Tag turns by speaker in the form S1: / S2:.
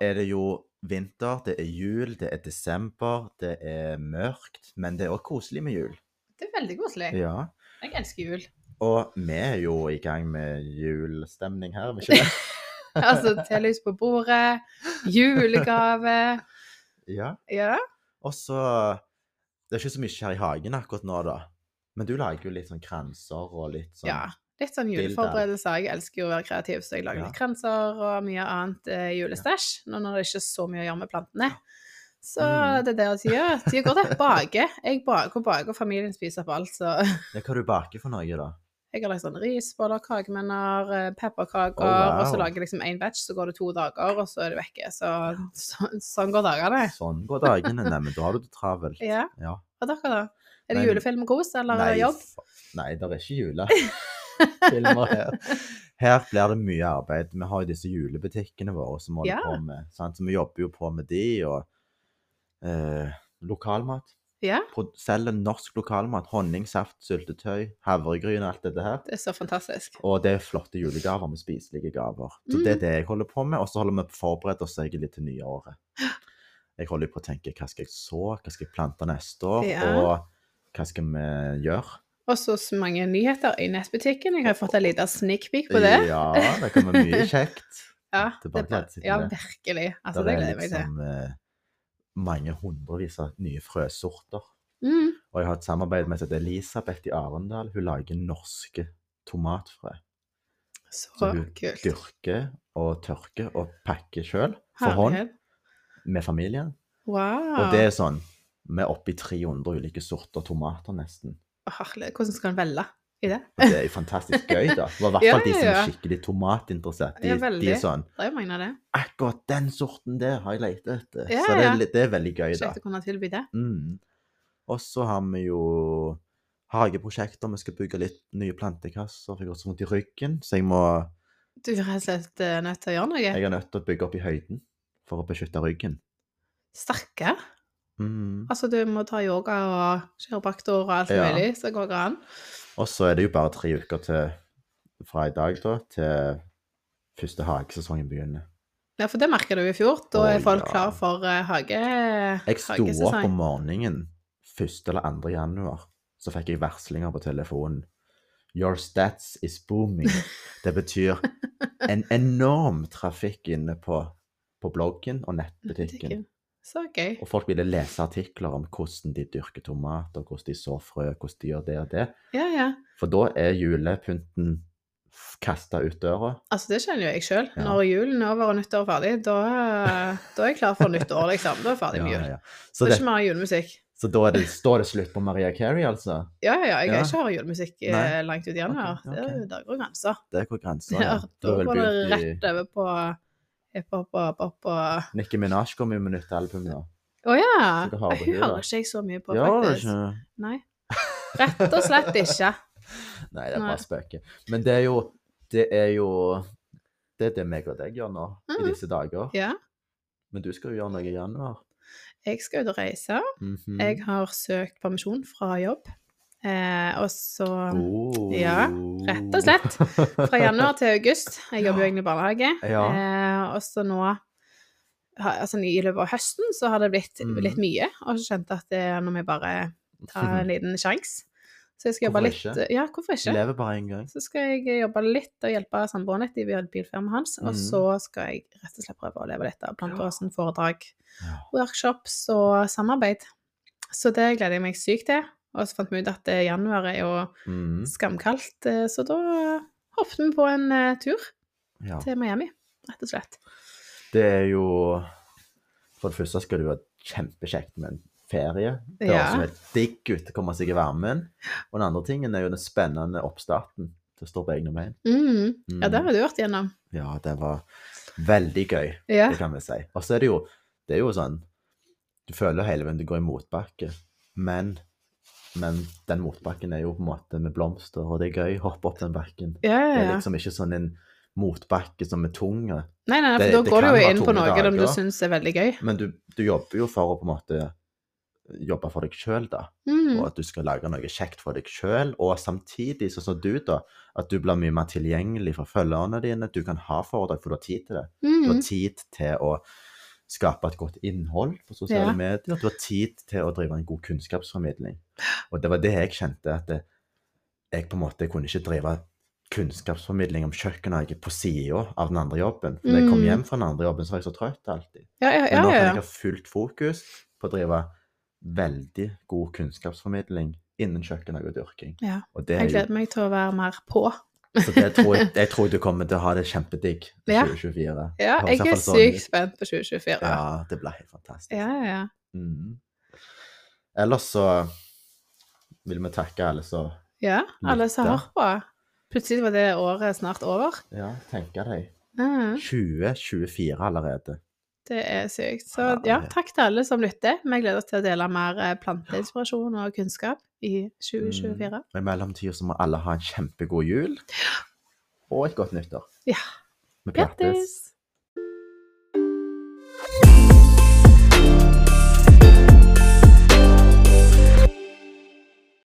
S1: er det jo vinter, det er jul, det er desember, det er mørkt, men det er òg koselig med jul.
S2: Det er veldig koselig.
S1: Ja.
S2: Jeg elsker jul.
S1: Og vi er jo i gang med julestemning her, er vi ikke det?
S2: Altså telys på bordet, julegave.
S1: Ja.
S2: Ja.
S1: Og så Det er ikke så mye her i hagen akkurat nå, da. Men du lager jo litt sånn kranser og litt sånn
S2: ja. Litt sånn
S1: Bilder.
S2: juleforberedelser. Jeg elsker jo å være kreativ, så jeg lager
S1: Ja.
S2: litt kranser og mye annet eh, julestæsj. Nå når det ikke er så mye å gjøre med plantene. Så
S1: Mm.
S2: det er det jeg gjør. Tida går til å bake. Jeg baker og baker, og familien spiser opp alt. Så
S1: Ja, Hva du baker for noe, da?
S2: jeg har lagd sånn risboller, kakemenner, eh, pepperkaker.
S1: Oh, wow.
S2: Og så lager jeg liksom én batch, så går det to dager, og så er det vekke. Så, så, sånn går dagene.
S1: Sånn går dagene. Nei, men da har du det travelt.
S2: Ja.
S1: Ja.
S2: Og dere, da? Er det
S1: Men-
S2: julefilm og kos, eller er det jobb?
S1: fa- Nei, det er ikke julefilmer her. Her blir det mye arbeid. Vi har jo disse julebutikkene våre som holder
S2: Ja.
S1: på med, sant? så vi jobber jo på med de, og eh, lokalmat.
S2: Ja.
S1: Pro- Selger norsk lokalmat. Honning, saft, syltetøy, havregryn, alt dette her.
S2: Det er så fantastisk.
S1: Og det er flotte julegaver med spiselige gaver. Så
S2: Mm.
S1: det er det jeg holder på med. Og så holder vi på å forberede oss egentlig til nye året. Jeg holder på å tenke hva skal jeg så, hva skal jeg plante neste år,
S2: Ja.
S1: og hva skal vi gjøre?
S2: Og så så mange nyheter i nettbutikken. Jeg har fått en liten sneak peek på det.
S1: Ja, det kommer mye kjekt.
S2: Ja, det
S1: tilbake
S2: er bra.
S1: til det.
S2: ja virkelig. Altså,
S1: Der
S2: det
S1: er
S2: gleder jeg meg til.
S1: liksom eh, mange hundrevis av nye frøsorter.
S2: Mm.
S1: Og jeg har et samarbeid med et Elisabeth i Arendal. Hun lager norske tomatfrø.
S2: Så
S1: Så hun
S2: kult.
S1: Dyrker og tørker og pakker sjøl for hånd
S2: Herlighet.
S1: med familien.
S2: Wow.
S1: Og det er sånn Vi er oppe i 300 ulike sorter tomater, nesten.
S2: Herlig. Hvordan skal en velge i det?
S1: Og det er jo fantastisk gøy, da. Og i hvert
S2: Ja,
S1: fall de som
S2: ja,
S1: er
S2: ja.
S1: skikkelig tomatinteressert. De,
S2: Ja,
S1: de
S2: veldig.
S1: er sånn
S2: Det er jo mange av det.
S1: akkurat den sorten der har jeg lett etter.
S2: Ja,
S1: så det
S2: ja.
S1: er, litt- det er veldig gøy, da.
S2: Kjekt å kunne tilby det.
S1: Mm. Og så har vi jo hageprosjekter. Vi skal bygge litt nye plantekasser. for Jeg har så vondt i ryggen, så jeg, må,
S2: Du er rett og slett eh, nødt til å gjøre noe.
S1: jeg er nødt til å bygge opp i høyden for å beskytte ryggen.
S2: Stakkar.
S1: Mm.
S2: Altså, du må ta yoga og kiropraktor og alt
S1: Ja.
S2: mulig, så går det an.
S1: Og så er det jo bare tre uker til, fra i dag da, til første hagesesongen begynner.
S2: Ja, for det merker du i fjor. Da
S1: Å,
S2: er folk
S1: ja.
S2: klar for eh, hage...
S1: Jeg sto opp
S2: hagesesong.
S1: om morgenen 1. eller 2. januar, så fikk jeg varslinger på telefonen. Your stats is booming. Det betyr en enorm trafikk inne på, på bloggen og nettbutikken.
S2: Butikken. Så gøy.
S1: Og folk ville lese artikler om hvordan de dyrker tomater, hvordan de sår frø, hvordan de gjør det og det.
S2: Ja, ja.
S1: For da er julepynten kasta ut døra.
S2: Altså, det kjenner jo jeg sjøl.
S1: Ja.
S2: Når julen er over og nyttår er ferdig, da, da er jeg klar for nytt år, liksom. Da er jeg ferdig med jul.
S1: ja.
S2: Så
S1: Så,
S2: det er
S1: det,
S2: ikke mer julemusikk.
S1: så da er det, står det slutt på Maria Carey, altså?
S2: Ja, ja, ja, jeg
S1: Ja.
S2: kan ikke høre julemusikk eh,
S1: Nei.
S2: langt ut i januar.
S1: Ok,
S2: Det er jo- Der går grensa.
S1: Det er hvor grensa
S2: Ja,
S1: er.
S2: da
S1: vel
S2: går det
S1: begynt i-
S2: rett over på hiphop og pop og
S1: Nicki Minaj kommer jo med nytt album nå.
S2: Å ja!
S1: Så hva har du
S2: Jeg
S1: da?
S2: hører ikke jeg så mye på,
S1: Gjør det
S2: faktisk.
S1: ikke?
S2: Nei. Rett og slett ikke.
S1: Nei, det er
S2: Nei.
S1: bare spøker. Men det er jo Det er jo det er det meg og deg gjør nå i
S2: Mhm.
S1: disse dager.
S2: Ja.
S1: Men du skal jo gjøre noe i januar.
S2: Jeg skal ut og reise.
S1: Mhm.
S2: Jeg har søkt permisjon fra jobb. Eh, og så
S1: Oh.
S2: Ja, rett og slett. Fra januar til august. Jeg jobber jo egentlig i barnehage.
S1: Ja.
S2: Eh, og så nå ha- altså, I løpet av høsten så har det blitt
S1: Mhm.
S2: litt mye, og så kjente jeg at det, nå må jeg bare ta en liten sjanse. Så jeg skal jobbe
S1: Hvorfor
S2: litt
S1: ikke?
S2: Ja, hvorfor ikke?
S1: Lever bare én gang.
S2: Så skal jeg eh, jobbe litt og hjelpe samboeren litt i bilfirmaet hans, og
S1: Mhm.
S2: så skal jeg rett og slett prøve å leve litt av planteåsen, foredrag,
S1: Ja.
S2: workshops og samarbeid. Så det gleder jeg meg sykt til. Og så fant vi ut at eh, januar er jo
S1: Mhm.
S2: skamkaldt, eh, så da hoppet vi på en eh, tur
S1: Ja.
S2: til Miami, rett og slett.
S1: Det er jo For det første skal det jo være kjempekjekt med en ferie. Det høres
S2: Ja.
S1: jo helt digg ut å komme seg i varmen. Og den andre tingen er jo den spennende oppstarten til å stå på egne bein.
S2: Mm.
S1: Mm.
S2: Ja, det har du vært gjennom.
S1: Ja, det var veldig gøy,
S2: Ja.
S1: det kan vi si. Og så er det jo det er jo sånn Du føler hele veien du går i motbakke, men, men den motbakken er jo på en måte med blomster, og det er gøy å hoppe opp den bakken.
S2: Ja,
S1: Det
S2: ja,
S1: er
S2: ja.
S1: liksom ikke sånn en motbakke som er tung.
S2: Nei, nei, nei, for
S1: Det- det
S2: da går
S1: kan
S2: du jo
S1: være
S2: inn på
S1: tunge dager.
S2: noe som du syns er veldig gøy.
S1: Men du, du jobber jo for å på en måte jobbe for deg sjøl, da. Og
S2: Mm.
S1: at du skal lage noe kjekt for deg sjøl. Og samtidig, sånn som du, da, at du blir mye mer tilgjengelig for følgerne dine. Du kan ha foredrag, for du har tid til det. Du
S2: Mm.
S1: har tid til å skape et godt innhold på sosiale
S2: Ja.
S1: medier. Du har tid til å drive en god kunnskapsformidling. Og det var det jeg kjente, at det- jeg på en måte kunne ikke drive kunnskapsformidling om kjøkkenet på sida av den andre jobben. For når jeg kom
S2: Mm.
S1: hjem fra den andre jobben, så var jeg så trøtt alltid.
S2: Ja, ja,
S1: Men
S2: ja.
S1: nå kan
S2: ja,
S1: jeg
S2: ja.
S1: ha fullt fokus på å drive veldig god kunnskapsformidling innen kjøkkenet og dyrking.
S2: Ja.
S1: Og det er
S2: Jeg
S1: jo,
S2: gleder meg til å være mer på.
S1: så det tror jeg, jeg tror du kommer til å ha det kjempedigg i
S2: Ja.
S1: 2024.
S2: Ja,
S1: Det høres
S2: jeg er
S1: iallfall sånn ut.
S2: sykt spent på 2024.
S1: Ja, det blir helt fantastisk.
S2: ja, ja. ja.
S1: Mhm. Ellers så vil vi takke alle som
S2: ja alle som
S1: Lytte.
S2: har hørt på. Plutselig var det året snart over.
S1: Ja, tenker deg.
S2: Ja,
S1: 2024 allerede.
S2: det er sykt. Så
S1: Ja,
S2: ja,
S1: det-
S2: takk til alle som lytter. Vi gleder oss til å dele mer eh, planteinspirasjon og kunnskap i 2024.
S1: Og Mm. I mellomtida så må alle ha en kjempegod jul. Og et godt nyttår.
S2: Ja.
S1: Vi prates.
S2: Grattis!